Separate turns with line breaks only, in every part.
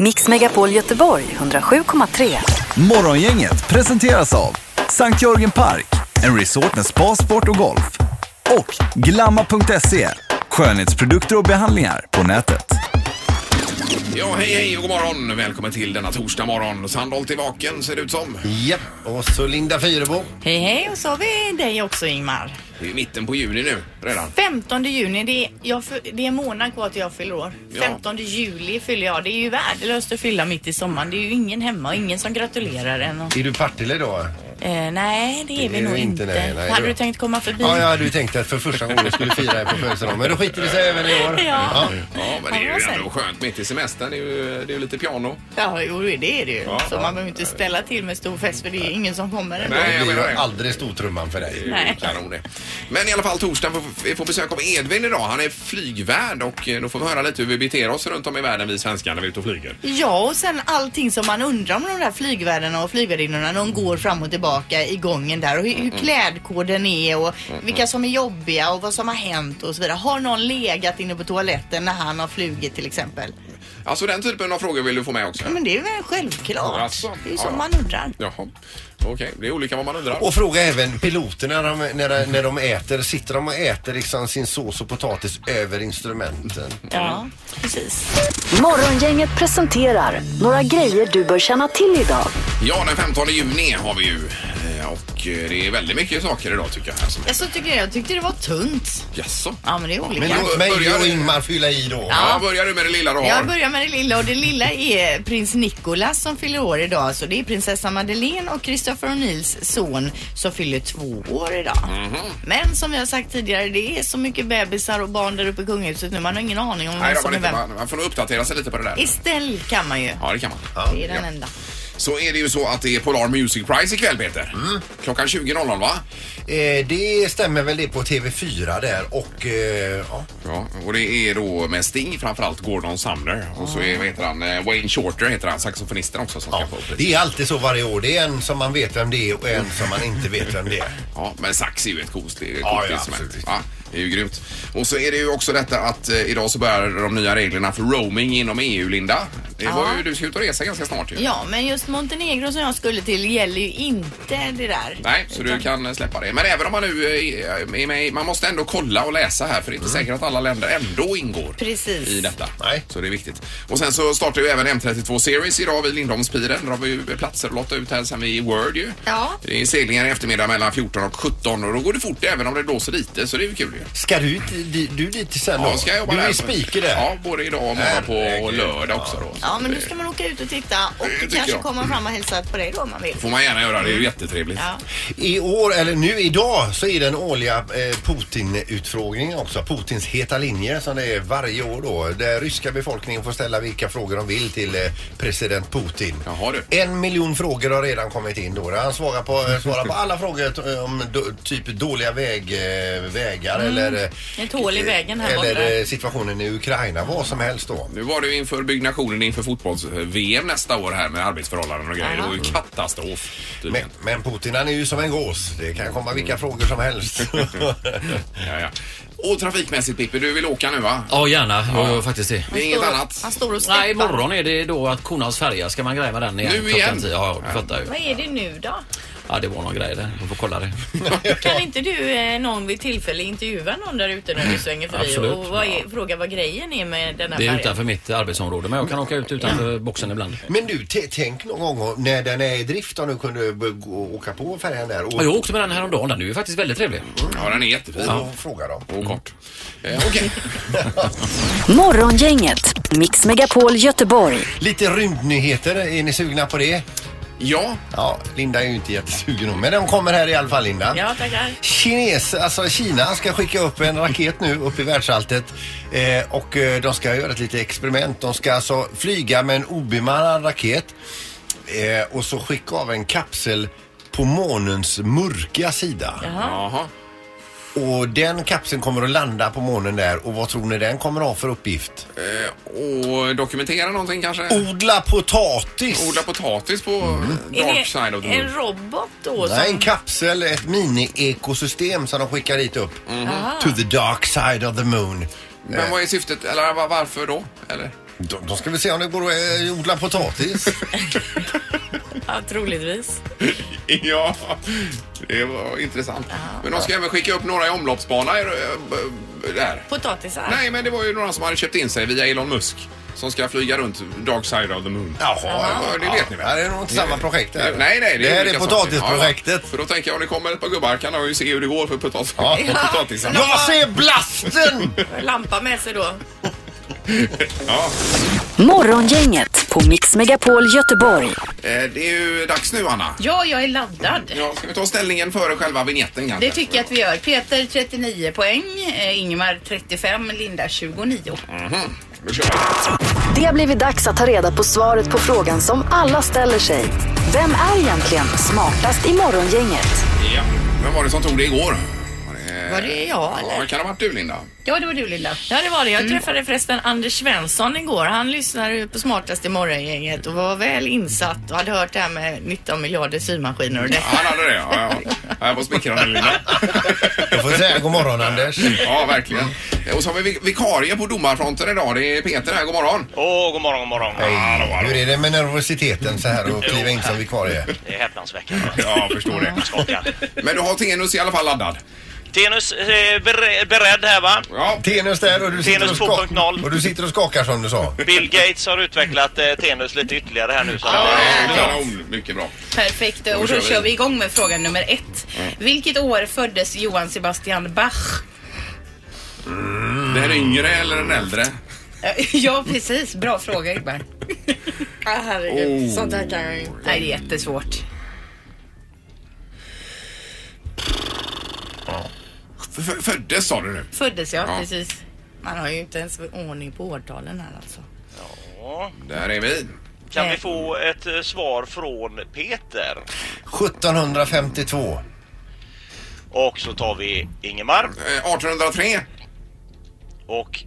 Mix Megapol Göteborg 107,3.
Morgongänget presenteras av Sankt Jörgen Park, en resort med spa, sport och golf. Och Glamma.se, skönhetsprodukter och behandlingar på nätet.
Ja, hej, hej och god morgon. Välkommen till denna torsdag morgon. Sandholt är vaken ser det ut som.
Japp, och så Linda Fyrebo.
Hej hej och så har vi dig också Ingmar.
Det är ju mitten på juni nu redan.
15 juni, det är, jag, fy- det är en månad kvar till jag fyller år.
Ja.
15 juli fyller jag. Det är ju värdelöst att fylla mitt i sommaren. Det är ju ingen hemma och ingen som gratulerar en. Och,
Är du Partille då?
eh, nej, det är vi
är
nog
du inte,
inte.
nej, nej,
Hade
då-
du tänkt komma förbi?
Ja, jag hade ju tänkt att för första gången skulle fira er på födelsedagen. Men då skiter det sig även i år.
Ja.
Ja, men det
Ja,
är
vad
ju
säger
ändå
du?
skönt mitt i semestern. Det är ju, det är ju lite piano.
Ja, jo, det är det ju.
Ja.
så man behöver inte ställa till med stor fest för det är ju ingen som kommer ändå.
Nej,
Det
jag
blir
menar
ju
det.
aldrig stortrumman för dig.
Det är ju Kanon det. Men i alla fall torsdag får vi får besök av Edvin idag. Han är flygvärd och eh, då får vi höra lite hur vi beter oss runt om i världen vi svenskar när vi är ute och flyger.
Ja, och sen allting som man undrar om de där flygvärdarna och flygvärdinnorna. De går fram och tillbaka i gången där och hur,
Mm,
hur klädkoden är och vilka som är jobbiga och vad som har hänt och så vidare. Har någon legat inne på toaletten när han har flugit till exempel?
Alltså den typen av frågor vill du få med också?
Ja, men det är väl självklart.
Alltså,
det är ju
ja.
som man undrar.
Jaha. Okej, det är olika vad man undrar.
Och fråga även piloterna när de, när, de- när de äter. Sitter de och äter liksom sin sås och potatis över instrumenten?
Ja, precis.
Morgongänget presenterar några grejer du bör känna till idag.
Ja, den 15 juni har vi ju. Eh, Och eh, det är väldigt mycket saker idag tycker jag. här som-
Ja, så tycker jag, jag tyckte det var tunt.
Jaså?
Ja, men det är olika.
Men låt mig och Ingmar fylla i då.
Ja, börjar du med det lilla du har?
Jag börjar med det lilla och det lilla är prins Nicolas som fyller år idag. Så det är prinsessa Madeleine och Christopher O'Neills son som fyller två år idag.
Mhm.
Men som jag har sagt tidigare, det är så mycket bebisar och barn där uppe i kungahuset nu. Man har ingen aning om
Nej,
vem
då,
som
man,
är
inte,
vem.
man, man får nog uppdatera sig lite på det där.
Estelle kan man ju.
Ja, det kan man.
Det är den enda.
Så är det ju så att det är Polar Music Prize ikväll, Peter. Klockan 20.00, va?
Mm. Eh, det stämmer väl det på TV4 där och eh, ja.
Ja, och det är då med Sting, framförallt Gordon Sumner. Och så är, vad heter han, eh, Wayne Shorter heter han, saxofonisten också som ska
ja.
få upp det.
Det är alltid så varje år. Det är en som man vet vem det är och en som man inte vet vem det är.
Ja, men sax är ju ett coolt, det är ett
Ja,
coolt
ja,
instrument.
absolut.
Ja, det är ju grymt. Och så är det ju också detta att eh, idag så börjar de nya reglerna för roaming inom EU, Linda. Det var ju, du ska ut och resa ganska snart ju.
Ja, men just Montenegro som jag skulle till gäller ju inte det där.
Nej, så du kan eh, släppa det. Men även om man nu eh, är med, i- man måste ändå kolla och läsa här för det är inte säkert att alla länder ändå ingår.
Mm. Precis.
i detta.
Nej.
Så det är viktigt. Och sen så startar ju även M32 Series idag vid Lindholmspiren. Där har vi ju platser att lotta ut här sen vi i Word ju.
Ja.
Det är seglingar i eftermiddag mellan 14 och 17 och då går det fort även om det blåser lite så det är ju kul ju.
Ska du, di- du dit sen
Ja,
då?
ska jag jobba
du
där.
är spiker där.
Ja, både idag och imorgon på
Herregud.
lördag också då.
Ja, men
Så
nu
det
ska man åka ut och titta och
tycker
kanske
jag.
komma fram och hälsa på dig då om man vill.
får man gärna göra. Det är ju jättetrevligt.
Ja.
I år, eller nu idag, så är den årliga eh, Putin-utfrågningen också. Putins heta linje som det är varje år då. Där ryska befolkningen får ställa vilka frågor de vill till eh, president Putin.
Jaha, du.
En miljon frågor har redan kommit in då. Där Han svarar på, eh, svarar på alla frågor t- om do, typ dåliga väg, eh, vägar eller... eh,
Ett hål i vägen Mm. här borta.
Eller eh, situationen i Ukraina, vad som helst då.
Nu var det ju inför byggnationen inför fotbolls-VM nästa år här med arbetsförhållanden och grejer. Det var ju katastrof.
Men,
tydligen.
men Putin han är ju som en gås. Det kan komma vilka frågor som helst.
Ja, ja. Och trafikmässigt Pippi, du vill åka nu va?
Ja, gärna. Jag gör faktiskt det.
Det är inget
Står-
annat.
Han står och
Nej,
steppar.
imorgon är det då att konans färja ska man gräva den igen.
Nu
klockan
igen?
tio. Ja, ja, du fattar ju.
Vad är det nu då?
Ja, det var någon grej där. Jag får kolla det.
Kan inte du eh, någon vid tillfälle intervjua någon där ute
Mm.
när du svänger förbi
Absolut.
och vad är, fråga vad grejen är med den här
Det är
färjan?
utanför mitt arbetsområde, men jag kan åka ut utanför boxen ibland.
Men du, t- tänk någon gång om- när den är i drift om du kunde b- gå- åka på färjan där och,
Ja, jag åkte med den häromdagen. Den är ju faktiskt väldigt trevlig.
Ja, den är jättefin.
och, och fråga dem.
Och kort. Eh, Okej.
Morgongänget, Mix Megapol Göteborg.
Lite rymdnyheter, är ni sugna på det?
Ja,
Ja, Linda är ju inte jättesugen om, men de kommer här i alla fall Linda.
Ja, tackar.
Kines, alltså Kina ska skicka upp en raket nu upp i världsalltet eh, och eh, de ska göra ett litet experiment. De ska alltså flyga med en obemannad raket eh, och så skicka av en kapsel på månens mörka sida.
jaha.
Och den kapseln kommer att landa på månen där och vad tror ni den kommer att ha för uppgift?
Eh, Och dokumentera någonting kanske?
Odla potatis!
Odla potatis på eh,
Är
dark side of the
det en
moon.
robot då?
Nej, en
som,
kapsel, ett mini-ekosystem som de skickar hit upp.
Mhm.
To the dark side of the moon.
Men vad är syftet? Eller va- varför då? Eller?
Då, då ska vi se om det går att eh, odla potatis.
Ja, troligtvis.
Ja, det var intressant. Men de ska även skicka upp några i omloppsbana. eh, eh, Där.
Potatisar.
Nej, men det var ju några som hade köpt in sig via Elon Musk som ska flyga runt Dark Side of the Moon.
Jaha,
Ja, det vet ni väl?
Ja, det är nog inte samma projekt.
Nej,
där.
nej. Det,
det här är
olika saker.
potatisprojektet.
Ja, för då tänker jag om det kommer ett par gubbar kan de ju se hur det går för potatis.
Ja.
potatisen. Ja.
Jag ser blasten!
Lampa med sig då.
Morgongänget på Mix Megapol Göteborg.
Eh, Det är ju dags nu, Anna.
Ja, jag är laddad.
Ja, ska vi ta ställningen före själva vignetten kanske?
Det tycker jag att vi gör. Peter 39 poäng, eh, Ingmar 35, Linda 29.
Då kör Mhm. vi.
Det har blivit dags att ta reda på svaret på frågan som alla ställer sig. Vem är egentligen smartast i Morgongänget?
Ja. Vem var det som tog det igår?
Var det jag eller?
Ja, kan det ha varit du, Linda?
Ja, det var du Lilla. Mm.
Ja, det var det. Jag träffade förresten Anders Svensson igår. Han lyssnade ju på smartaste morgongänget och var väl insatt och hade hört det här med 19 miljarder symaskiner och det.
Ja, Han hade det, ja. ja, ja. Jag var smickrande, Linda.
Jag får säga god morgon Anders.
Ja, verkligen. Och så har vi vik- vikarie på domarfronten idag. Det är Peter här, god morgon.
Åh, god morgon, god morgon.
Hej. Hur är det med nervositeten så här och kliva in som vikarie?
Det är häpnadsväckande. Mm,
Ja, jag förstår det.
Skakad.
Men du har Tenus i alla fall laddad.
Tenus eh, bere- beredd här va?
Ja,
Tenus där och du, sitter och,
Tenus 2.0.
skak- och du sitter och skakar som du sa.
Bill Gates har utvecklat eh, Tenus lite ytterligare här nu. Så eh,
kanon. Mm, Mycket bra.
Perfekt.
Då
Och
kör
då
vi.
kör vi igång med fråga nummer ett. Vilket år föddes Johann Sebastian Bach?
Det här är yngre eller Mm. den äldre?
Eh, Ja, precis. Bra fråga Ingmar.
Ah, herregud. Sånt här kan jag ju inte.
Nej, det är jättesvårt.
F- Föddes sa du nu?
Föddes jag,
Ja.
precis. Man har ju inte ens ordning på årtalen här alltså.
ja.
Där är vi.
Kan vi få ett eh, svar från Peter?
1752.
Och så tar vi Ingemar
Eh, 1803.
och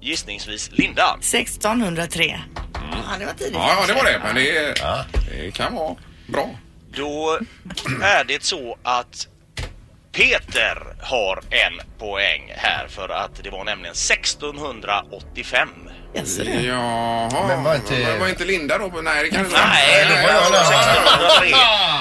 gissningsvis Linda.
1603.
Mm. Ja, det var tidigt.
Ja, ja, det var det. Men det, är- det kan vara bra.
Då är det så att Peter har en poäng här för att det var nämligen 1685.
Jaha.
Men
var
var
inte,
inte-
var inte Linda då? Nej, det kan det inte vara.
Nej, det var
jag
alltså 1603.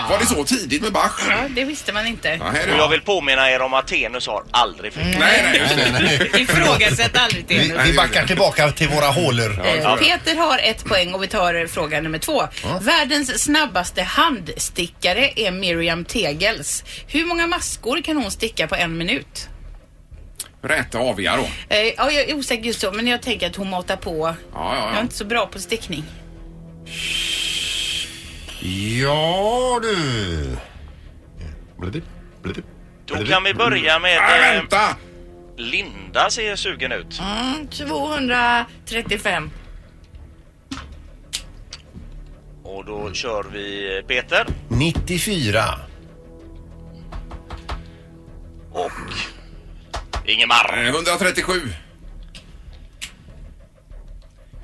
Var det så tidigt med Bach?
Ja, det visste man inte.
Oh. Ja, här är
Och jag
jag.
vill påminna er om att Tenus har aldrig fel.
Nej, nej, just det.
Ifrågasätt aldrig
Vi,
det.
vi backar tillbaka till våra hålor.
Eh, Peter har ett poäng och vi tar fråga nummer två. Världens snabbaste handstickare är Miriam Tegels. Hur många maskor kan hon sticka på en minut?
Rätt aviga då.
Eh, ja, jag är osäker just så, men jag tänker att hon matar på.
Ja, ja,
Jag är
ja.
inte så bra på stickning.
Ja du.
Då kan vi börja med
Nej,
eh,
vänta!
Linda ser sugen ut.
Mm, 235.
Och då kör vi eh, Peter
94.
och Ingemar.
Eh, 137.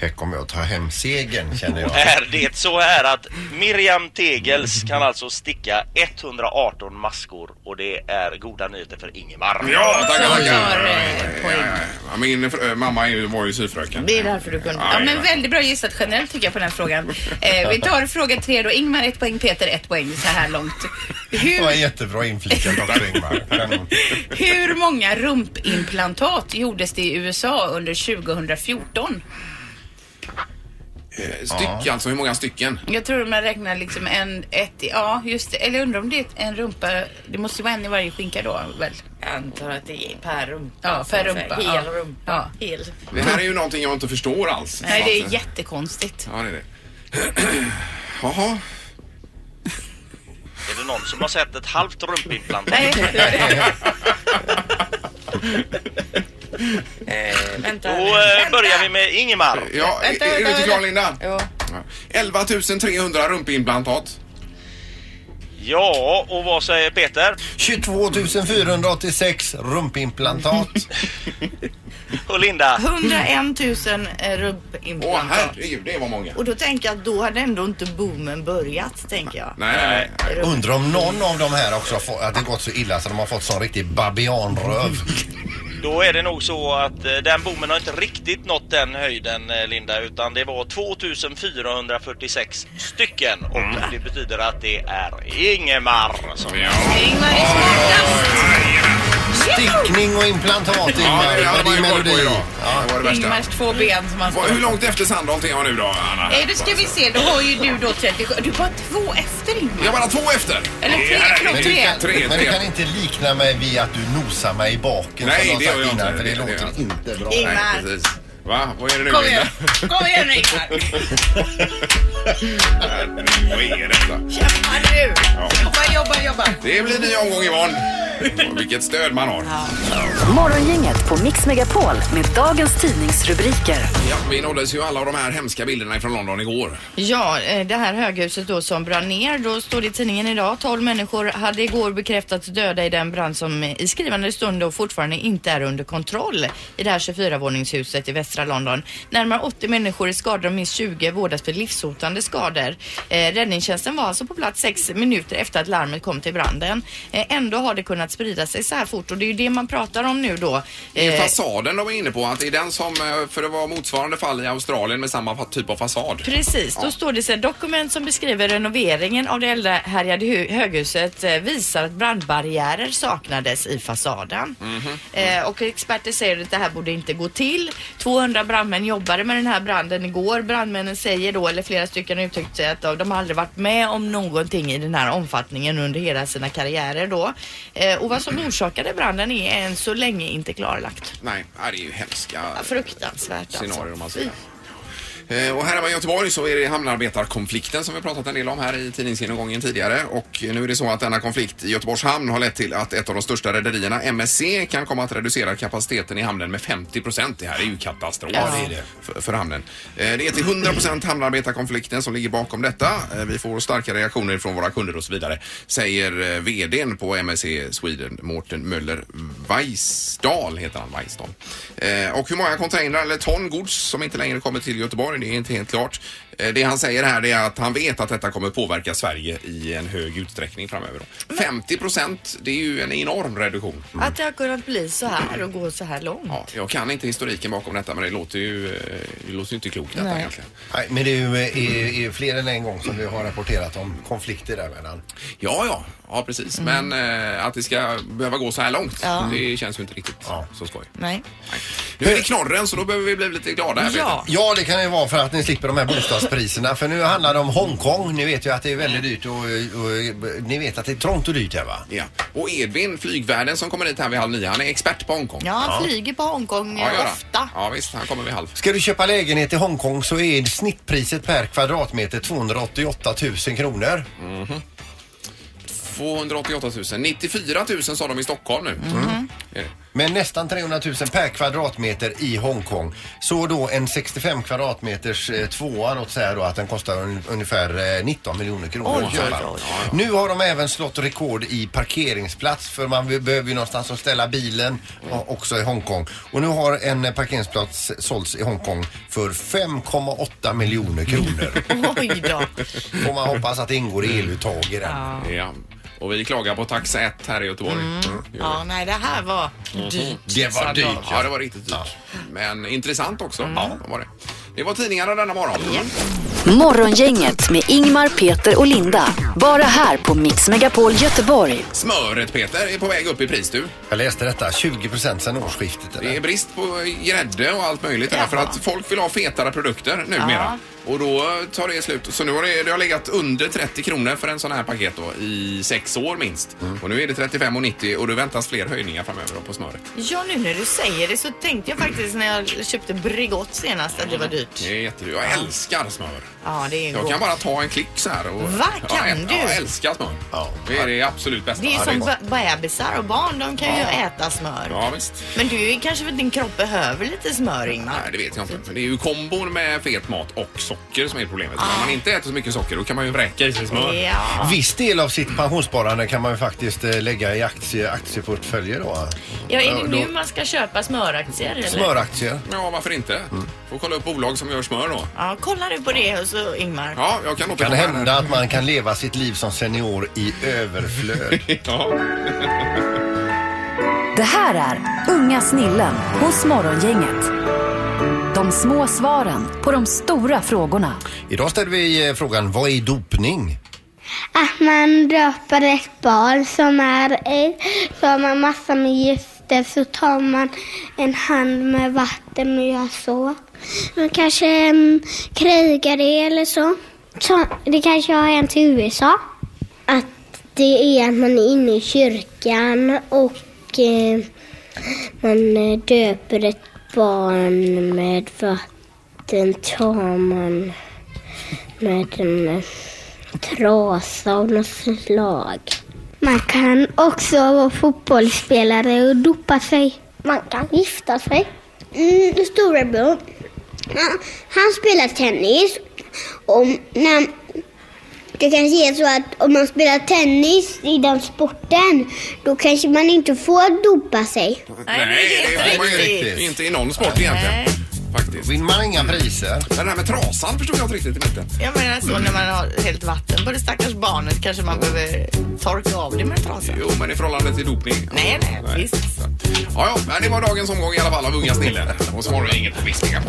Här kommer jag ta hem segern känner jag.
Är det så här att Miriam Tegels kan alltså sticka 118 maskor och det är goda nyheter för Ingemar.
Ja, tackar,
Som tar
tackar.
eh, poäng.
Ja, Min fr- äh, mamma är ju- var ju syfröken.
Det är därför du kunde. Ja,
Aj,
men
aj.
väldigt bra gissat generellt tycker jag på den här frågan. Eh, vi tar fråga tre då. Ingmar ett poäng, Peter ett poäng så här långt.
Det
Hur
var jättebra inflikat också Ingmar. Kanon.
Hur många rumpimplantat gjordes det i USA under 2014?
Eh, Styck alltså, hur många stycken?
Jag tror man räknar liksom en, ett, i- ja just det. Eller undrar om det är en rumpa, det måste ju vara en i varje skinka då väl?
Jag antar att det är per rumpa.
Ja, per
så att
rumpa.
säga. Hel
ja.
rumpa.
Ja.
Hel.
Det här är ju någonting jag inte förstår alls.
Nej, det
Så
är
att,
jättekonstigt.
Ja, det är det. Jaha.
Är det någon som har sett ett halvt rumpimplantat?
Nej. eh, vänta.
Då
här nu.
eh, börjar vi med Ingemar.
Ja, eh,
Vänta,
är, är du
vänta,
inte klar
vänta.
Linda?
Ja.
Ja. 11 300 rumpimplantat.
Ja, och vad säger Peter?
22 486 rumpimplantat.
Och Linda?
101 000 eh,
Åh
rumpimplantat.
herregud, det var många.
och då tänker jag att då hade ändå inte boomen börjat, tänker jag.
Nej, nej, nej.
Undrar om någon av de här också har fått, att det gått så illa så de har fått sån riktig babianröv.
Då är det nog så att eh, den bommen har inte riktigt nått den höjden eh, Linda utan det var 2446 stycken
Mm.
och det betyder att det är Ingemar som
Ingmar är smartast.
Stickning och implantat,
Ja,
Ingmar.
det hade
var
man
din
ju koll på
melodi.
idag. Det var det värsta.
Ingmars två ben som han
Vad- Hur långt efter Sandholt är jag nu då, Anna?
Eh, Då ska vi se, då har ju du då 37. Du var två efter Ingmar.
Jag är bara två efter.
Eller tre,
Det är
klockan
härligt.
Men du,
tre.
kan,
Tre,
men du
tre.
kan inte likna mig vid att du nosar mig i baken
Nej,
som
det
de
gör
sagt
jag
innan,
inte.
för
Det
det
gör jag
låter
inte.
inte bra.
Ingmar.
Nej, precis. Va? Vad är det nu?
Kom igen.
Linda?
Kom igen nu Ingmar.
Vad är detta?
Kämpa nu. Jobba, jobba, jobba.
Det blir ny omgång imorgon. Och Vilket stöd man har.
Morgongänget på Mix Megapol med dagens tidningsrubriker.
Ja, vi nåddes ju alla av de här hemska bilderna från London igår.
Ja, eh, det här höghuset då som brann ner, då står det i tidningen idag. 12 människor hade igår bekräftats döda i den brand som eh, i skrivande stund då fortfarande inte är under kontroll i det här 24-våningshuset i västra London. Närmare 80 människor är skadade och minst 20 vårdas för livshotande skador. Eh, räddningstjänsten var alltså på plats sex minuter efter att larmet kom till branden. Eh, ändå har det kunnat sprida sig så här fort och det är ju det man pratar om nu då.
Det är
Eh,
fasaden de är inne på. Att det är den som, eh, för det var motsvarande fall i Australien med samma fa- typ av fasad.
Precis, då står det så här, dokument som beskriver renoveringen av det eldhärjade hu- höghuset eh, visar att brandbarriärer saknades i fasaden.
Mhm.
Eh, och experter säger att det här borde inte gå till. 200 brandmän jobbade med den här branden igår. Brandmännen säger då, eller flera stycken har uttryckt sig att de har aldrig varit med om någonting i den här omfattningen under hela sina karriärer då. Eh, och vad som orsakade branden är än så länge inte klarlagt.
Nej, ja, det är ju hemska
Ja, Fruktansvärt
scenarier om man
alltså.
säger. Eh, Och här hemma i Göteborg så är det hamnarbetarkonflikten som vi pratat en del om här i tidningsgenomgången tidigare. Och nu är det så att denna konflikt i Göteborgs hamn har lett till att ett av de största rederierna, MSC, kan komma att reducera kapaciteten i hamnen med 50 procent. Det här är ju katastrof För, för hamnen. Eh, Det är till 100 procent hamnarbetarkonflikten som ligger bakom detta. Eh, Vi får starka reaktioner från våra kunder och så vidare, säger eh, vdn på MSC Sweden, Mårten Möller Weisdal, heter han, Weisdal. Eh, Och hur många containrar eller ton gods som inte längre kommer till Göteborg, det är inte helt klart. Eh, Det han säger här det är att han vet att detta kommer påverka Sverige i en hög utsträckning framöver. Då. 50 procent, det är ju en enorm reduktion.
Att det har kunnat bli så här och gå så här långt.
Ja, jag kan inte historiken bakom detta men det låter ju, eh, det låter ju inte klokt detta
Nej.
egentligen.
Nej, men det är ju eh, är, är fler än en gång som vi har rapporterat om konflikter däremellan.
Ja, ja, ja precis.
Mm.
Men eh, att det ska behöva gå så här långt, det känns ju inte riktigt så skoj.
Nej.
Nu är det knorren så då behöver vi bli lite glada här.
Ja.
Ja, det kan ju vara för att ni slipper de här bostadspriserna. För nu handlar det om Hongkong. Ni vet ju att det är väldigt dyrt och, och, och ni vet att det är trångt och dyrt här va?
Peter. Ja. Och Edvin, flygvärden som kommer hit här vid halv nio, han är expert på Hongkong.
Ja, han flyger på Hongkong eh,
Ja, gör han.
ofta.
Ja, visst, han kommer vid halv.
Ska du köpa lägenhet i Hongkong så är snittpriset per kvadratmeter 288 000 kronor.
Mhm. 288 000. 94 000 sa de i Stockholm nu.
Mhm.
Mm. Är det?
Men nästan 300 000 per kvadratmeter i Hongkong. Så då en 65 kvadratmeters eh, tvåa, låt säga då att den kostar un ungefär eh, 19 miljoner kronor. att köpa. Nu har de även slått rekord i parkeringsplats för man be- behöver ju någonstans att ställa bilen ja, också i Hongkong. Och nu har en eh, parkeringsplats sålts i Hongkong för 5,8 miljoner kronor.
Oj då.
Får man hoppas att det ingår i eluttag i den.
Ja. Och vi klagar på tax 1 här i Göteborg. Mm.
Ja, nej, det här var dyrt. Alltså,
Det var dyrt.
Ja, Mm. det var riktigt dyrt. Men intressant också. Ja, det var det. Det var tidningarna denna morgon.
Morgongänget med Ingmar, Peter och Linda. Bara här på Mix Megapol Göteborg.
Smöret, Peter, är på väg upp i pris du.
Jag läste detta, 20 sedan årsskiftet. eller?
Det är brist på grädde och allt möjligt här
Jaha.
för att folk vill ha fetare produkter numera. Och då tar det slut. Så nu har det, det har legat under 30 kronor för en sån här paket då i sex år minst. Och nu är det 35,90 och det väntas fler höjningar framöver då på smöret.
Ja, nu när du säger det så tänkte jag faktiskt när jag köpte Bregott senast att det var dyrt.
Det är jättedyrt. Jag älskar smör.
Ja, det är
Jag
gott.
kan bara ta en klick så här. Och,
Va? Kan
jag,
du?
Jag älskar smör.
Ja.
Det är det absolut bästa.
Det är ju
Ja,
som
gott.
be- bebisar och barn, de kan ju äta smör.
Ja, visst.
Men du kanske för din kropp behöver lite smör,
Nej,
Ingmar?
det vet jag inte. För det är ju kombon med fet mat och socker som är problemet. Om man inte äter så mycket socker då kan man ju vräka i sig smör.
Ja.
Viss del av sitt pensionssparande kan man ju faktiskt eh, lägga i aktie, aktieportföljer då.
ja, är
Ja,
det
då-
nu man ska köpa smöraktier? Eller?
Smöraktier.
Ja, varför inte?
Mm.
Får kolla upp bolag som gör smör då.
Ja, kolla du på det och så Ingmar.
Ja, jag kan
Kan
återkomma.
det
här.
hända att man kan leva sitt liv som senior i överflöd?
Ja.
Det här är Unga snillen hos Morgongänget. De små svaren på de stora frågorna.
Idag ställer vi eh, frågan, vad är dopning?
Att man döper ett barn som är i, så har man massa med gifter, så tar man en hand med vatten och gör så. Man kanske mm, krigar det eller så. så. Det kanske har hänt i USA. Att det är att man är inne i kyrkan och eh, man eh, döper ett barn med vatten, tar man med en eh, trasa av något slag. Man kan också vara fotbollsspelare och dopa sig. Man kan gifta sig. Mm, storebror, han, han spelar tennis. Och när, det kanske är så att om man spelar tennis i den sporten, då kanske man inte får dopa sig.
Nej, det får man ju
riktigt.
inte i någon sport egentligen. Faktiskt.
Vinner man inga priser?
Men det här med trasan förstod jag inte riktigt i mitten.
Jag menar så när man har helt vatten på det stackars barnet kanske man behöver torka av det med en trasa.
Jo, men i förhållande till dopning.
Nej, nej, visst.
Ja, ja, men det var dagens omgång i alla fall av Unga snillen. Och så har du inget på visningar.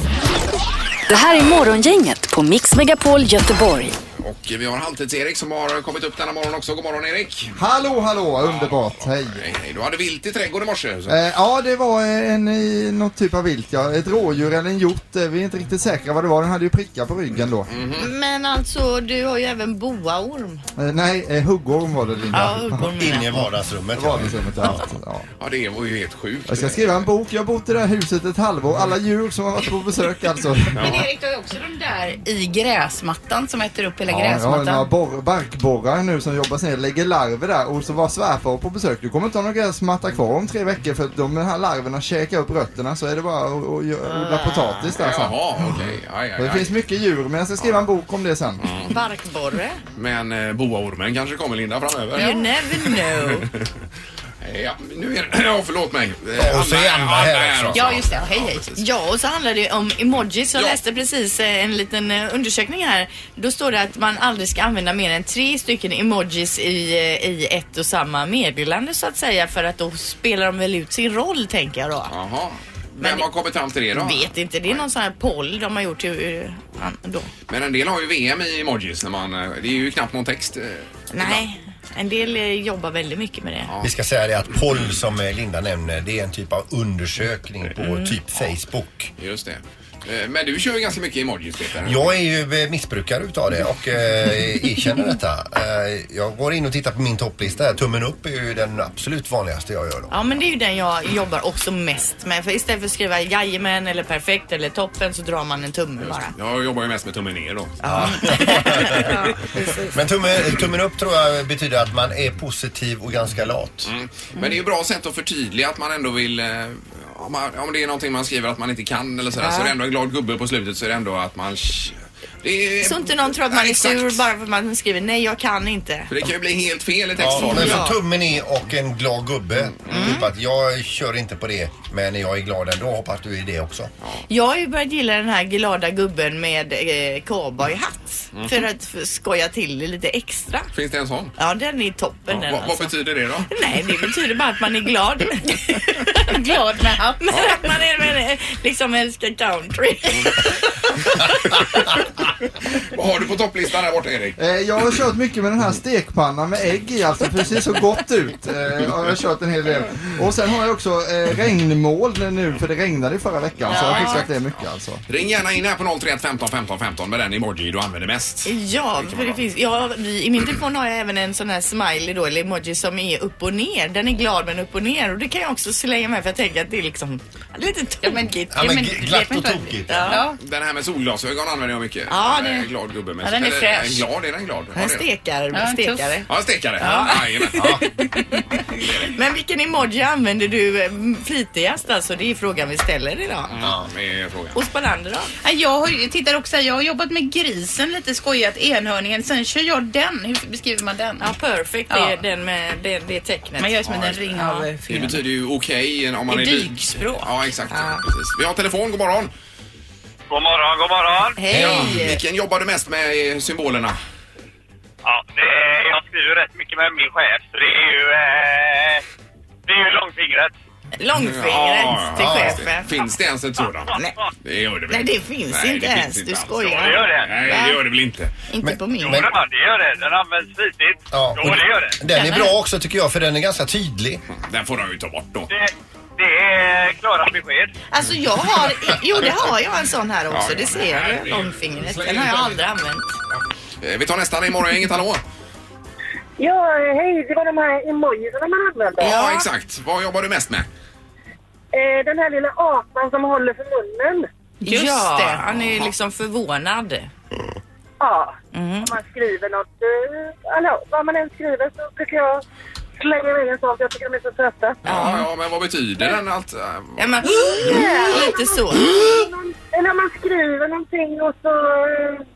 Det här är Morgongänget på Mix Megapol Göteborg.
Och vi har Halvtids-Erik som har kommit upp denna morgon också. God morgon Erik!
Hallå, hallå, underbart. Hej.
Hej, hej. Du hade vilt i trädgården i morse. Så.
Eh, ja, det var eh, en, i- något typ av vilt, ja. Ett rådjur eller en hjort. eh, Vi är inte riktigt säkra vad det var. Den hade ju prickar på ryggen då.
Men alltså, du har ju även boaorm.
Eh, nej, eh, huggorm var det,
Ja,
Linda.
huggorm menar
Inne i
jag.
vardagsrummet.
Det
ja.
var det som ett annat, ja.
Ja, det var ju helt sjukt.
Jag ska skriva en bok. Jag har bott i det här huset ett halvår. Alla djur som har varit på besök alltså.
Men Erik, du har ju också de där i gräsmattan som äter upp hela
Ja, jag har några
gräsmattan.
borr- barkborrar nu som jobbar sig ner, lägger larver där och så var svärfar på besök. Du kommer inte ha någon gräsmatta kvar om tre veckor för att de här larverna käkar upp rötterna så är det bara att att gö- odla
Ah.
potatis där sen.
Jaha, okej. Aj,
Det
aj, aj.
finns mycket djur men jag ska skriva en bok om det sen.
Mm.
Barkborre.
Men eh, boaormen kanske kommer Linda framöver.
You never know.
Ja, nu är det... Ja, förlåt mig. Eh,
och så är Anna här också.
Ja, just det. Hej, hej.
precis.
Ja, och så handlar det ju om emojis. Jag
Ja.
läste precis eh, en liten eh, undersökning här. Då står det att man aldrig ska använda mer än tre stycken emojis i, eh, i ett och samma meddelande så att säga. För att då spelar de väl ut sin roll tänker jag då.
Jaha. Vem
Men-
har kommit fram till det då?
Vet inte, det är någon sån här poll de har gjort till, eh, an- då.
Men en del har ju VM i emojis när man... eh, Det är ju knappt någon text. eh,
Nej, en del eh, jobbar väldigt mycket med det.
Vi ska säga det att poll som eh, Linda nämner, det är en typ av undersökning på typ Facebook.
Mm. Just det. Eh, Men du kör ju ganska mycket emojis Peter.
Jag är ju eh, missbrukare utav det och eh, erkänner detta. Eh, jag går in och tittar på min topplista här. Tummen upp är ju den absolut vanligaste jag gör då.
Ja men det är ju den jag jobbar också mest med. För istället för att skriva jajamän eller perfekt eller toppen så drar man en tumme bara.
Jag jobbar ju mest med tummen ner då.
Men tummen, tummen upp tror jag betyder att man är positiv och ganska lat.
Mm. Men det är ju bra sätt att förtydliga att man ändå vill... eh, Om, man, om det är någonting man skriver att man inte kan eller sådär, så är det ändå en glad gubbe på slutet så är det ändå att man... Det är,
Så inte någon tror att man
Ja,
är
exakt.
sur bara för att man skriver nej jag kan inte.
För det kan ju bli helt fel i Mm.
Ja,
textformen.
men så tummen i och en glad gubbe. Typ att jag kör inte på det men jag är glad ändå. Hoppas du är det också.
Jag har ju börjat gilla den här glada gubben med eh, cowboyhatt.
Mm.
För att f- skoja till det lite extra.
Finns det en sån?
Ja den är toppen
Ja,
den
vad, vad
alltså.
betyder det då?
Nej det betyder bara att man är glad. glad med hatt. Men att man är, men, eh, liksom älskar country.
Vad har du på topplistan där borta Erik?
Eh, jag har kört mycket med den här stekpannan med ägg i alltså för det ser så gott ut. Eh, har jag har kört en hel del. Och sen har jag också eh, regnmoln nu för det regnade i förra veckan så jag har fixat det mycket alltså.
Ring gärna in här på 031 15 15 15 med den emoji du använder mest.
Ja, för det finns, ja, vi- i min telefon har jag även en sån här smiley då, eller emoji som är upp och ner. Den är glad men upp och ner och det kan jag också slänga med för jag tänker att det är liksom lite tokigt.
Ja, men
men-
gl- glatt
vet
och
man inte.
tokigt.
Ja.
Den här med solglasögon använder jag mycket.
Ja,
Jag är
det-
en glad gubbe med
Ja, den är
eller,
fräsch.
en Glad, är den glad? Ja, det är
En
den.
stekare,
Ja, en
stekare.
Ja, en stekare. Ja. jajamän. Ja.
Men vilken emoji använder du eh, flitigast alltså? Det är frågan vi ställer idag.
Ja, med frågan.
Och Spanander då?
Ja, Jag har, ju- tittar också här, jag har jobbat med grisen lite skojat, enhörningen. Sen kör jag den. Hur beskriver man den?
Ja, perfect. Det
Ja.
är den med det, det tecknet.
Man gör som en ring av eh,
Det
film.
betyder ju okej om man
I
är
dykspråk.
Ja, exakt. Precis. Vi har telefon, god morgon.
God morgon, god morgon.
Ja,
Hej!
Vilken jobbar du mest med eh, symbolerna?
Ja, det är, jag skriver rätt mycket med min chef, så det är ju, eh, det är ju långfingret.
Långfingret till
ja,
chefen.
Finns det ens ett sådant?
Nej.
Det gör det väl
Nej, det finns inte ens. Du
alls.
skojar.
Ja, det gör det. Nej, det gör det väl inte.
Inte på min.
men-
Ja, det gör det. Den används flitigt.
Ja,
Jo, det gör det.
Den är bra också tycker jag för den är ganska tydlig.
Den får de ju ta bort då.
Det, det är klara besked.
Alltså jag har, jo det har jag en sån här
Ja,
också,
ja.
det ser jag ju. Långfingret. Den har jag aldrig använt.
Eh, Vi tar nästa i morgongänget, hallå?
Ja, hej, det var de här emojisarna man använde.
Ja. exakt. Vad jobbar du mest med?
Eh, den här lilla apan som håller för munnen.
Just
Ja.
det, han är ju liksom förvånad.
Ja,
Mm.
om man skriver något. Eh, alltså, vad man än skriver så tycker jag slänga iväg en sån för jag tycker de är så söta.
Ja, ja men vad betyder den? Allt, eh,
Ja, men, lite så.
Någon- Eller om man skriver någonting och så... eh,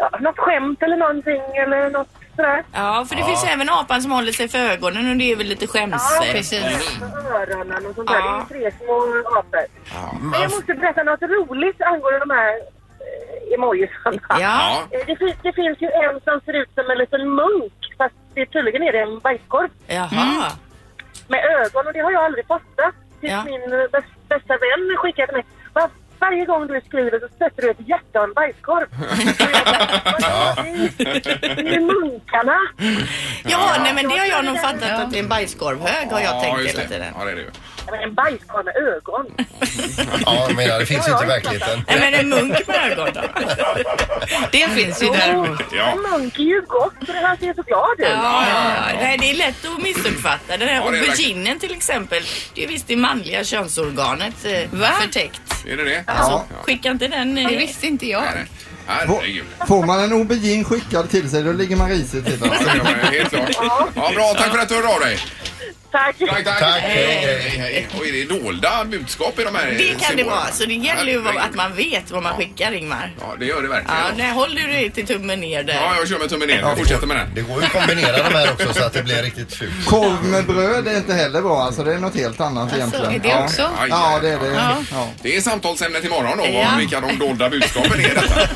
Ja, något skämt eller någonting eller något sådär.
Ja, för det finns även apan som håller sig för ögonen och det är väl lite Mm.
Ja,
skämsigt.
Mm.
Med öronen och sånt där.
Ja.
Det är ju tre små apor. Men jag måste berätta något roligt angående de här eh, emojisarna.
Ja.
Eh, Det, fin- det finns ju en som ser ut som en liten munk fast det, tydligen är det en bajskorv
Mm.
Jaha.
med ögon och det har jag aldrig fattat. Tills
Ja.
min eh, bäst, bästa vän skickade till mig. "Va, Varje gång du skriver så sätter du ett hjärta och en bajskorv. Och jag bara, "Vad är det? Det är ju munkarna.
Ja, nej men det har jag nog fattat att det är en bajskorvhög har jag tänkt
just
hela
det.
tiden.
Ja, det är det ju.
Men En bajskorv med ögon.
Ja, jag menar det finns inte i verkligheten.
Nej men en munk med ögon då. Det finns ju däremot.
Ja.
En munk är ju gott för den här ser så glad ut.
Ja, ja, ja. Nej, det är lätt att missuppfatta. Den här
Ja, det är
auberginen till exempel, det är visst det manliga könsorganet eh, förtäckt.
Är det det?
Ja.
Skicka inte den... eh,
inte jag.
Nej, nej. Herregud.
Får man en aubergine skickad till sig då ligger man risigt till.
Ja,
Alltså.
det var Helt klart. Ja, bra, tack för att du hörde av dig.
Tack.
Tack, tack.
Tack, hej,
Hej, hej. Och är det dolda budskap i de här
Det kan det
symbolerna?
vara, så det gäller ju vad-
Herregud.
att man vet vad man skickar Ingmar.
Ja, det gör det
Ja,
verkligen.
nej, håll du dig till tummen ner
Ja,
där.
jag kör med tummen ner. Jag fortsätter med den.
Det går ju att kombinera de här också så att det blir riktigt fult.
Korv med bröd är inte heller bra alltså. Det är något helt annat egentligen.
är det
ja.
också?
Aj,
Ja,
aj,
det är det.
aj.
Ja.
Det är samtalsämnet imorgon då,
Ja.
om vilka de dolda budskapen är i detta.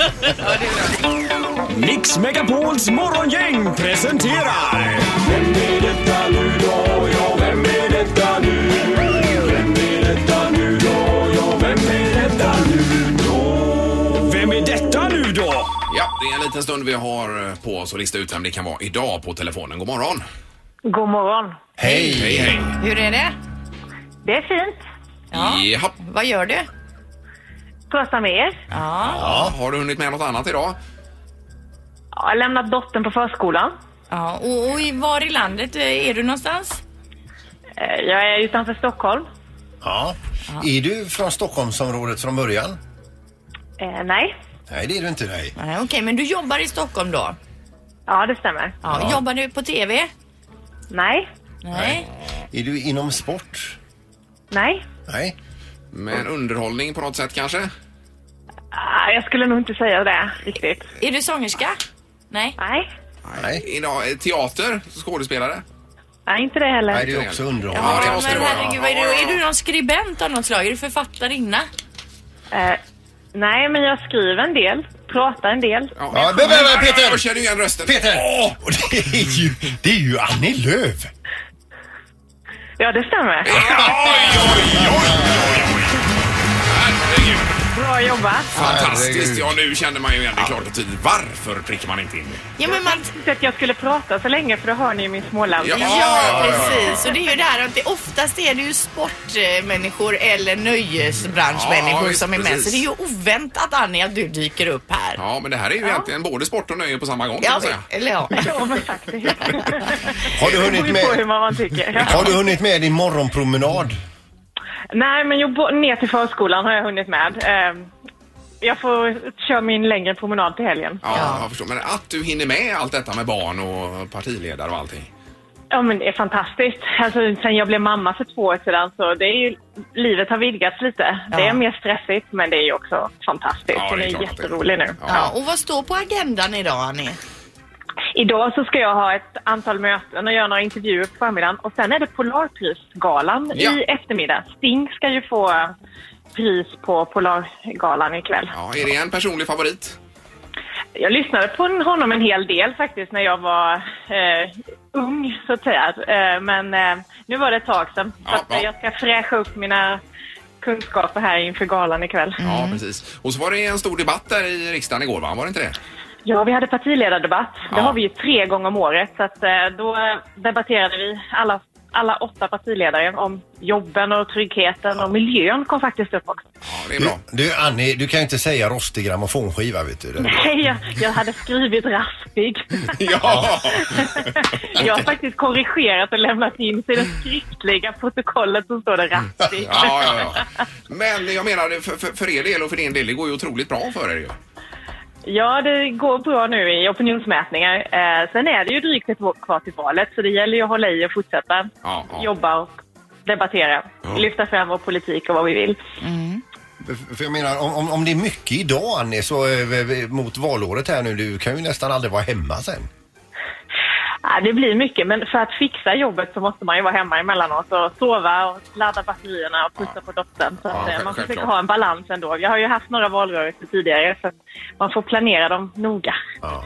Mix Megapols morgongäng presenterar... Vem är detta nu då? Ja, vem är detta nu? Vem är detta nu då? Ja, vem är detta nu då? Vem är detta nu då?
Ja, det är en liten stund vi har eh, på oss att lista ut vem det kan vara idag på telefonen. God morgon!
God morgon.
Hej!
Hej, hej!
Hur är det?
Det är fint.
Ja.
Japp.
Vad gör du?
Prata med er.
Ja,
Ja, har du hunnit med något annat idag?
Jag har lämnat dottern på förskolan.
ja. Och, och i, var i landet eh, är du någonstans?
Eh, Jag är utanför Stockholm.
Ja. Är du från Stockholmsområdet från början?
Eh, nej.
Nej, det är du inte. Nej.
Nej, Okej, men du jobbar i Stockholm då?
Ja, det stämmer.
Ja. Jobbar du på TV?
Nej.
Nej.
Är du inom sport?
Nej.
Nej.
Med underhållning på något sätt kanske?
Ah, Jag skulle nog inte säga det riktigt.
Är du sångerska? Nej.
Nej.
Nej.
Idag, eh, teater? Skådespelare?
Nej, inte det heller.
Nej, det är också underhållning.
Ja, det måste det
men
vara.
herregud, vad är,
Ja, ja,
du,
ja.
är du någon skribent av något slag? Är du författarinna?
Eh, nej, men jag skriver en del. Pratar en del.
Ja, men, men, men, Peter!
Jag känner igen rösten.
Peter! Och det, är ju, det är ju Annie Lööf!
Ja, det stämmer.
Herregud,
Bra jobbat.
Fantastiskt!
Herregud.
Ja, nu känner man ju igen det klart och tydligt. Varför prickar man inte in det?
Ja, men man,
Inte att jag skulle prata så länge, för då hör ni ju min småländska.
Ja.
ja precis. Och det är ju det här att det oftast är det ju sportmänniskor eller
Ja,
nöjesbranschmänniskor
visst,
som är med.
Mm. precis.
Så det är ju oväntat Annie att du dyker upp här.
Ja, men det här är ju egentligen både sport och nöje på samma gång. kan
Ja,
man säga.
eller ja.
Ja, men faktiskt.
Har du
Det
hunnit
beror ju på hur
med,
man tycker. Ja.
har du hunnit med din morgonpromenad?
Nej, men jag bo- ner till förskolan har jag hunnit med. Eh, jag får köra min längre promenad till helgen.
Ja, jag förstår. Men att du hinner med allt detta med barn och partiledare och allting.
Ja, men det är fantastiskt. Alltså, sen jag blev mamma för två år sedan så det är ju, livet har vidgats lite. Det är mer stressigt, men det är ju också fantastiskt.
Ja, det är
Hon är,
klart att det är.
jätterolig nu.
ja. Och vad står på agendan idag Annie?
Idag så ska jag ha ett antal möten och göra några intervjuer på förmiddagen. Och sen är det Polarprisgalan
Ja.
i eftermiddag. Sting ska ju få pris på Polargalan ikväll.
Ja, är det en personlig favorit?
Jag lyssnade på honom en hel del faktiskt när jag var eh, ung, så att säga. Eh, men eh,
nu var det ett tag sedan. Så
Ja,
att, eh,
ja.
jag ska fräscha upp mina kunskaper här inför galan ikväll.
Ja,
Mm.
precis. Och så var det en stor debatt där i riksdagen igår, va? Var det inte det?
Ja, vi hade partiledardebatt. Det
Ja.
har vi ju tre gånger om året. Så att, eh, då eh, debatterade vi alla, alla åtta partiledare om jobben och tryggheten och miljön kom faktiskt upp också.
det är
bra. Du, du Annie, du kan ju inte säga rostig grammofonskiva vet du.
Nej, jag, jag hade skrivit raspig.
ja!
Jag har faktiskt korrigerat och lämnat in så i det skriftliga protokollet så står det raspig.
Ja, ja, ja. Men jag menar, för, för, för er del och för din del, det går ju otroligt bra för er ju.
Ja, det går bra nu i opinionsmätningar. Eh, sen är det ju drygt ett år kvar till valet, så det gäller ju att hålla i och fortsätta
Ja, ja.
jobba och debattera. Lyfta fram vår politik och vad vi vill.
För- För jag menar, om, om, om det är mycket idag Annie, så eh, v- v- mot valåret här nu, du kan ju nästan aldrig vara hemma sen.
Ja, Eh, det blir mycket, men för att fixa jobbet så måste man ju vara hemma emellanåt och sova och ladda batterierna och pussa på dottern. Så att,
Ja,
eh, man
självklart.
försöker ha en balans ändå. Jag har ju haft några valrörelser tidigare, så att man får planera dem noga.
Ja.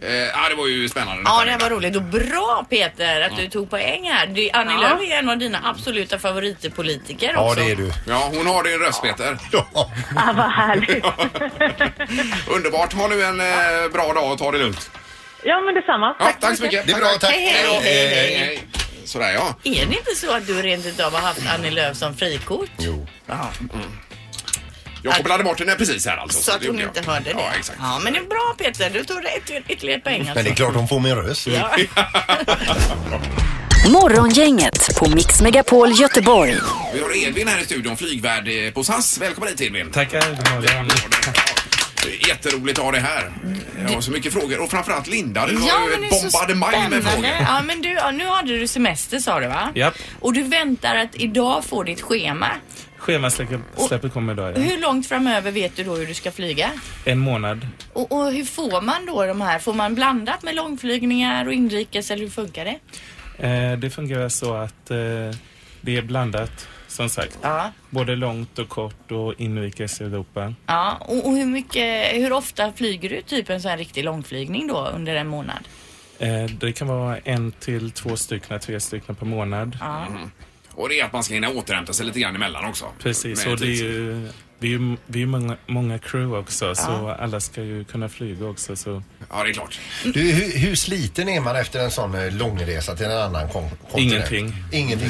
Eh, ja, det var ju spännande.
Ja, det här var roligt och bra Peter att
Mm.
du tog poäng här. Du, Annie
Ja.
Lööf är en av dina absoluta favoritpolitiker också.
du.
Ja, hon har din röst, Peter.
Ja.
Ah, vad härligt.
Underbart. Ha nu en eh, bra dag och ta det lugnt.
Ja, men detsamma.
Ja, tack så mycket.
Det är bra, tack.
Hej, hej,
då.
hej,
hej,
hej.
hej. Sådär, ja.
Är det inte så att du rent utav har haft Annie Lööf som frikort?
Jo.
Mm. Jag kopplade bort den här precis här alltså.
Så att
det
hon
gjorde
inte
jag.
hörde det.
Ja, exakt.
Ja, men det är bra Peter. Du tog rätt- ytterligare ett poäng
Men det
alltså.
är klart hon får min röst.
Morgongänget på Mix Megapol Göteborg.
Vi har Edvin här i studion, flygvärd eh, på SAS. Välkommen hit Edvin.
Tackar.
Det är Jätteroligt att ha dig här. Jag har så mycket frågor och framförallt Linda, du
Ja,
har ju
men
ett
det är så
bombardemang med frågor.
spännande. Ja, men du, ja, nu hade du semester sa du va?
Japp.
Och du väntar att idag få ditt schema.
Schemasläppet kommer idag. Ja.
Hur långt framöver vet du då hur du ska flyga?
En månad.
Och, och hur får man då de här? Får man blandat med långflygningar och inrikes eller hur funkar det?
Eh, det fungerar så att eh, det är blandat, som sagt. Både långt och kort och inrikes i Europa.
Ja, och, och hur, mycket, hur ofta flyger du typ en sån här riktig långflygning då under en månad?
Eh, det kan vara en till två stycken, tre stycken per månad.
Mm. Och det är att man ska hinna återhämta sig lite grann emellan också.
Precis,
Med
och det är
tid.
ju, vi är ju, vi är ju många, många crew också, så alla ska ju kunna flyga också. Så.
Ja, det är klart.
Du, hur, hur sliten är man efter en sån eh, långresa till en annan kon- kontinent?
Ingenting.
Ingenting.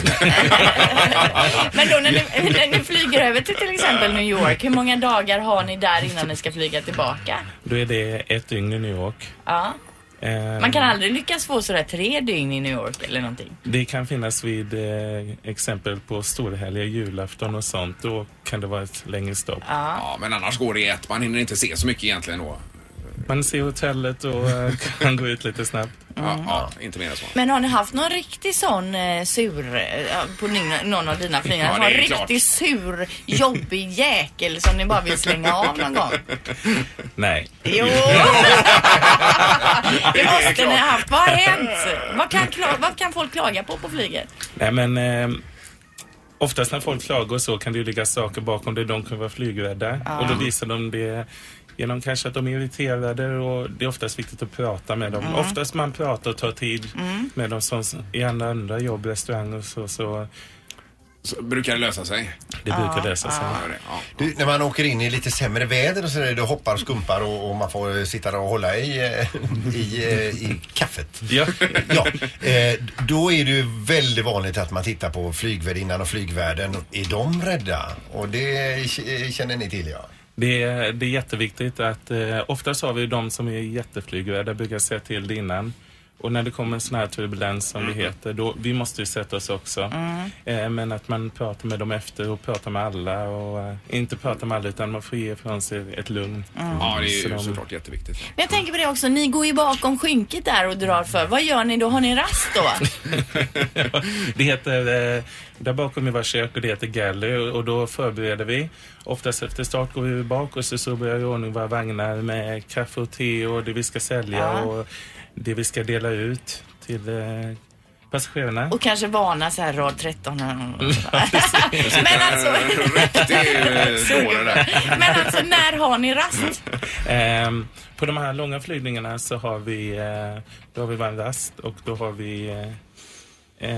Men då när ni, när ni flyger över till till exempel New York, hur många dagar har ni där innan ni ska flyga tillbaka?
Då är det ett dygn i New York.
Ja.
Eh,
Man kan
Ehm.
aldrig lyckas få sådär tre dygn i New York eller någonting.
Det kan finnas vid eh, exempel på storhelger, julafton och sånt. Då kan det vara ett längre stopp.
Ja, men annars går det i ett. Man hinner inte se så mycket egentligen då.
Man ser hotellet och eh, kan gå ut lite snabbt.
Ja, ja inte mer än så.
Mm. Men har ni haft någon riktig sån eh, sur, eh, ja, på ni- någon av dina flygningar,
Ja,
någon
det är
riktigt
klart.
sur, jobbig jäkel som ni bara vill slänga av någon gång?
Nej.
Jo! det måste ni ha haft. Vad har hänt? Vad kan, kla- vad kan folk klaga på på flyget?
Nej, men eh, oftast när folk klagar och så kan det ju ligga saker bakom det. De kan vara flygrädda
Ja.
och då visar de det genom kanske att de är irriterade och det är oftast viktigt att prata med dem.
Mm.
Oftast man pratar och tar tid
Mm.
med dem som i andra, andra jobb, restauranger och så. så
Så brukar det lösa sig?
Det brukar lösa sig.
Du, när man åker in i lite sämre väder och sådär, då hoppar och skumpar och, och man får eh, sitta där och hålla i, eh, i, eh, i kaffet.
Ja.
ja. Eh, då är det ju väldigt vanligt att man tittar på flygvärdinnan och flygvärden. Är de rädda? Och det eh, känner ni till ja.
Det är, det är jätteviktigt att eh, oftast har vi ju de som är jätteflygrädda, brukar säga till det innan. Och när det kommer en sån här turbulens
Mm.
som det heter, då, vi måste ju sätta oss också.
Mm.
Eh, men att man pratar med dem efter och pratar med alla och eh, inte pratar med alla utan man får ge ifrån sig ett lugn.
Mm.
Ja, det är
Så
ju
de-
såklart jätteviktigt.
Men jag tänker på det också, ni går ju bakom skynket där och drar för. Vad gör ni då? Har ni rast då?
Det heter, eh, där bakom i vårt kök och det heter galley och- och då förbereder vi. Oftast efter start går vi bak och så, så börjar vi i ordning våra vagnar med kaffe och te och det vi ska sälja
Ja.
och det vi ska dela ut till eh, passagerarna.
Och kanske varna så här rad 13 eller något.
Men alltså...
Men alltså när har ni rast?
Ehm, på de här långa flygningarna så har vi, eh, då har vi varmrast och då har vi eh, Eh,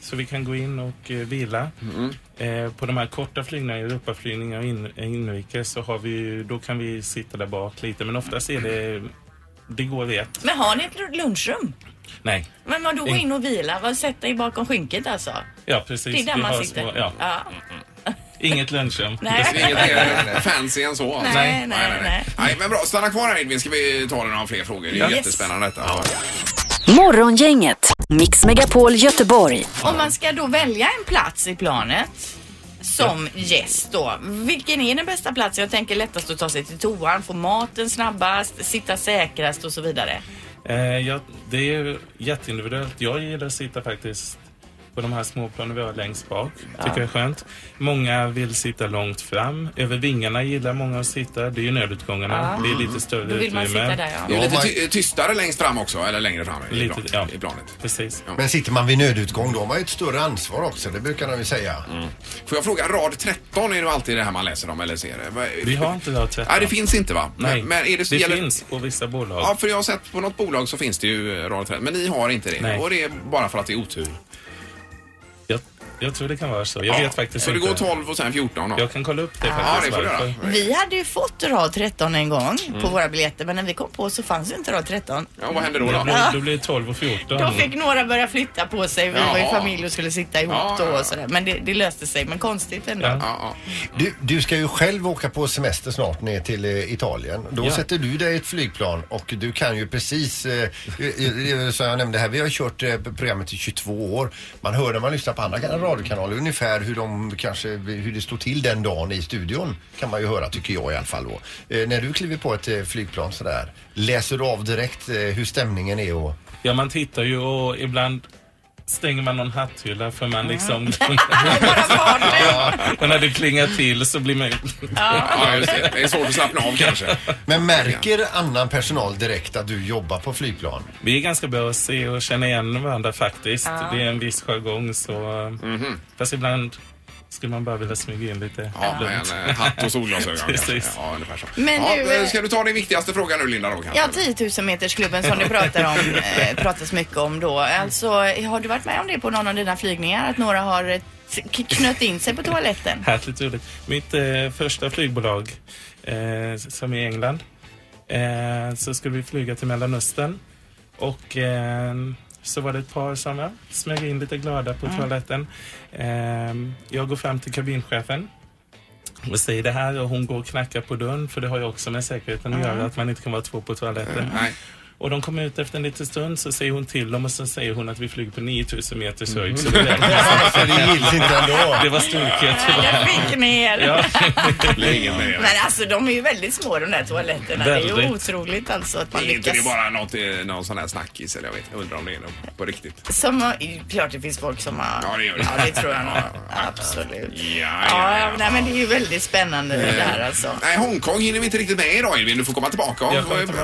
Så vi kan gå in och eh, vila.
Mm.
Eh, På de här korta flygningarna, Europaflygningar och in- inrikes, så har vi, ju- då kan vi sitta där bak lite. Men oftast är det, det går vi ett.
Men har ni ett lunchrum?
Nej.
Men vadå gå
In-
in och vila? Vad, Sätta er bakom skynket alltså?
Ja, precis.
Det är där
Vi
man
har
sitter.
små- ja.
Ja.
Inget lunchrum.
Nej.
Det är Inget mer fancy än så. alltså.
Nej, nej, nej.
nej, men bra. Stanna kvar här Edvin, ska vi ta några fler frågor. Det är
Ja.
jättespännande detta.
Morgongänget, Mix Megapol Göteborg.
Om man ska då välja en plats i planet som gäst då. Vilken är den bästa platsen? Jag tänker lättast att ta sig till toan, få maten snabbast, sitta säkrast och så vidare.
Eh, ja, det är ju jätteindividuellt. Jag gillar att sitta faktiskt på de här småplanen vi har längst bak. Tycker jag är skönt. Många vill sitta långt fram. Över vingarna gillar många att sitta. Det är ju nödutgångarna.
Ah.
Det är lite större
Då vill man
utrymme.
sitta där, ja. Det är lite ty- tystare längst fram också, eller längre fram i planet- i planet.
Precis.
Men sitter man vid nödutgång då har man ju ett större ansvar också. Det brukar de ju säga.
Mm. Får jag fråga, rad 13 är det alltid det här man läser om eller ser? det. Vad-
Vi har inte rad 13.
Nej, det finns inte va? Men-
Nej,
men är det,
det finns på vissa bolag.
Ja, för jag har sett på något bolag så finns det ju eh, rad 13, men ni har inte det.
Nej.
Och det är bara för att det är otur.
Jag, jag tror det kan vara så. Jag vet faktiskt
så det
inte.
går 12 och sen 14 då?
Jag kan kolla upp det
Ja,
faktiskt.
det får du
varför.
göra.
Vi hade ju fått rad 13 en gång på
Mm.
våra biljetter men när vi kom på så fanns ju inte rad 13.
Det blir,
Ja,
då blir det 12 och 14.
Då fick några börja flytta på sig. Vi
Ja.
var ju familj och skulle sitta ihop
Ja,
då och sådär. Men det, det löste sig. Men konstigt ändå.
Du, du ska ju själv åka på semester snart ner till eh, Italien. Då
Ja.
sätter du dig i ett flygplan och du kan ju precis, eh, i- i- som jag nämnde här, vi har kört eh, programmet i 22 år. Man hör när man lyssnar på andra kan- radiokanaler ungefär hur, de, kanske, hur det står till den dagen i studion. Kan man ju höra, tycker jag i alla fall då. Eh, när du kliver på ett eh, flygplan sådär, läser du av direkt eh, hur stämningen är och
Ja, man tittar ju och ibland stänger man någon hatthylla för man liksom... ja, och när det klingar till så blir man ju...
Ja, just det. Det är svårt att slappna av kanske.
Men märker annan personal direkt att du jobbar på flygplan?
Vi är ganska bra att se och känna igen varandra faktiskt.
Ja.
Det är en viss jargong så... Fast ibland skulle man bara vilja smyga in lite.
Mhm. Ja, med en eh, hatt och solglasögon kanske.
Precis.
Ja, ungefär så.
Men
ja,
du,
eh,
eh,
ska du ta din viktigaste fråga nu Linda då kanske?
Ja, 10 000 metersklubben som det pratar om, eh, pratas mycket om då. Alltså, har du varit med om det på någon av dina flygningar? Att några har eh, t- k- knött in sig på toaletten?
Härligt roligt. Mitt eh, första flygbolag eh, som är i England eh, så skulle vi flyga till Mellanöstern och eh, så var det ett par som ja, smög in lite glada på
Mm.
toaletten. Eh, jag går fram till kabinchefen och säger det här och hon går och knackar på dörren för det har ju också med säkerheten att
Mm.
göra att man inte kan vara två på toaletten.
Mm, nej.
Och de kommer ut efter en liten stund så säger hon till dem och så säger hon att vi flyger på 9000 meters höjd. Så det,
Så Mm. det gills inte ändå.
Det var storhet tyvärr.
Fick ner!
typ Ja.
Men alltså de är ju väldigt små de där toaletterna. Det är ju
Väldigt.
otroligt alltså att man
Det är inte
lyckas.
det är bara något, eh, någon sån här snackis eller jag vet Undrar om det är något på riktigt.
Som har, klart det finns folk som har...
Ja, det gör det.
Ja, det tror jag nog. Absolut. Ja, ja, Nej, men det är ju väldigt spännande
Mm.
det där alltså.
Eh, Nej, Hongkong hinner vi inte riktigt med idag Edvin. Du får komma tillbaka. och- eh,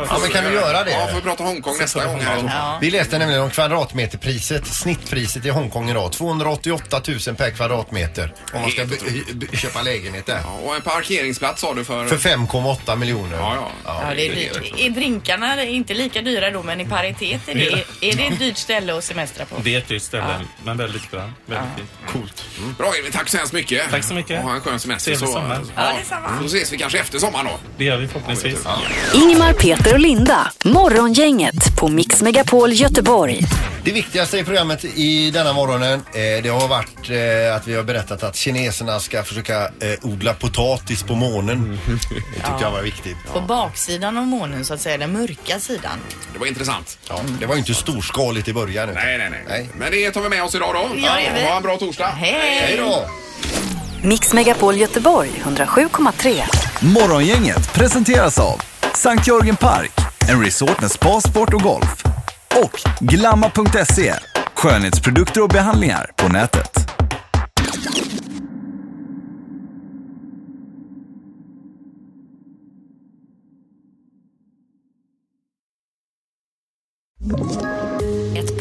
Ja, men kan vi göra det?
Ja, får vi prata Hongkong nästa gång här.
Alltså, Vi läste nämligen om kvadratmeterpriset, snittpriset i Hongkong idag. 288 000 per kvadratmeter om man ska
Helt
by- by- köpa lägenhet där.
Ja, och en parkeringsplats sa du för...
För 5,8 miljoner.
Ja, ja.
Ja, det är dyrt. Är drinkarna inte lika dyra då, men i paritet? Är det, är, det ett dyrt ställe att semestra på?
Det är ett dyrt ställe, men väldigt bra. Väldigt fint. Coolt. Mm.
Bra Edvin, tack så hemskt mycket. Tack så mycket. Och ha en skön semester.
Trevlig sommar.
Ja, detsamma. Så ses vi kanske efter sommaren då.
Det gör vi förhoppningsvis.
Ingmar, Peter och Linda. Morgongänget på Mix Megapol Göteborg.
Det viktigaste i programmet i denna morgonen eh, det har varit eh, att vi har berättat att kineserna ska försöka eh, odla potatis på
Mm.
månen. Det tyckte
Ja.
jag var viktigt.
På baksidan av månen så att säga, den mörka sidan.
Det var intressant.
Ja, det var ju inte storskaligt i början. utan-
Nej, nej, nej, Men det tar vi med oss idag då.
Ja, det gör vi.
Ha en bra torsdag.
Hej!
Hej då!
Mix Megapol Göteborg 107,3.
Morgongänget presenteras av Sankt Jörgen Park, en resort med spa, sport och golf. Och Glamma.se, skönhetsprodukter och behandlingar på nätet.
Ett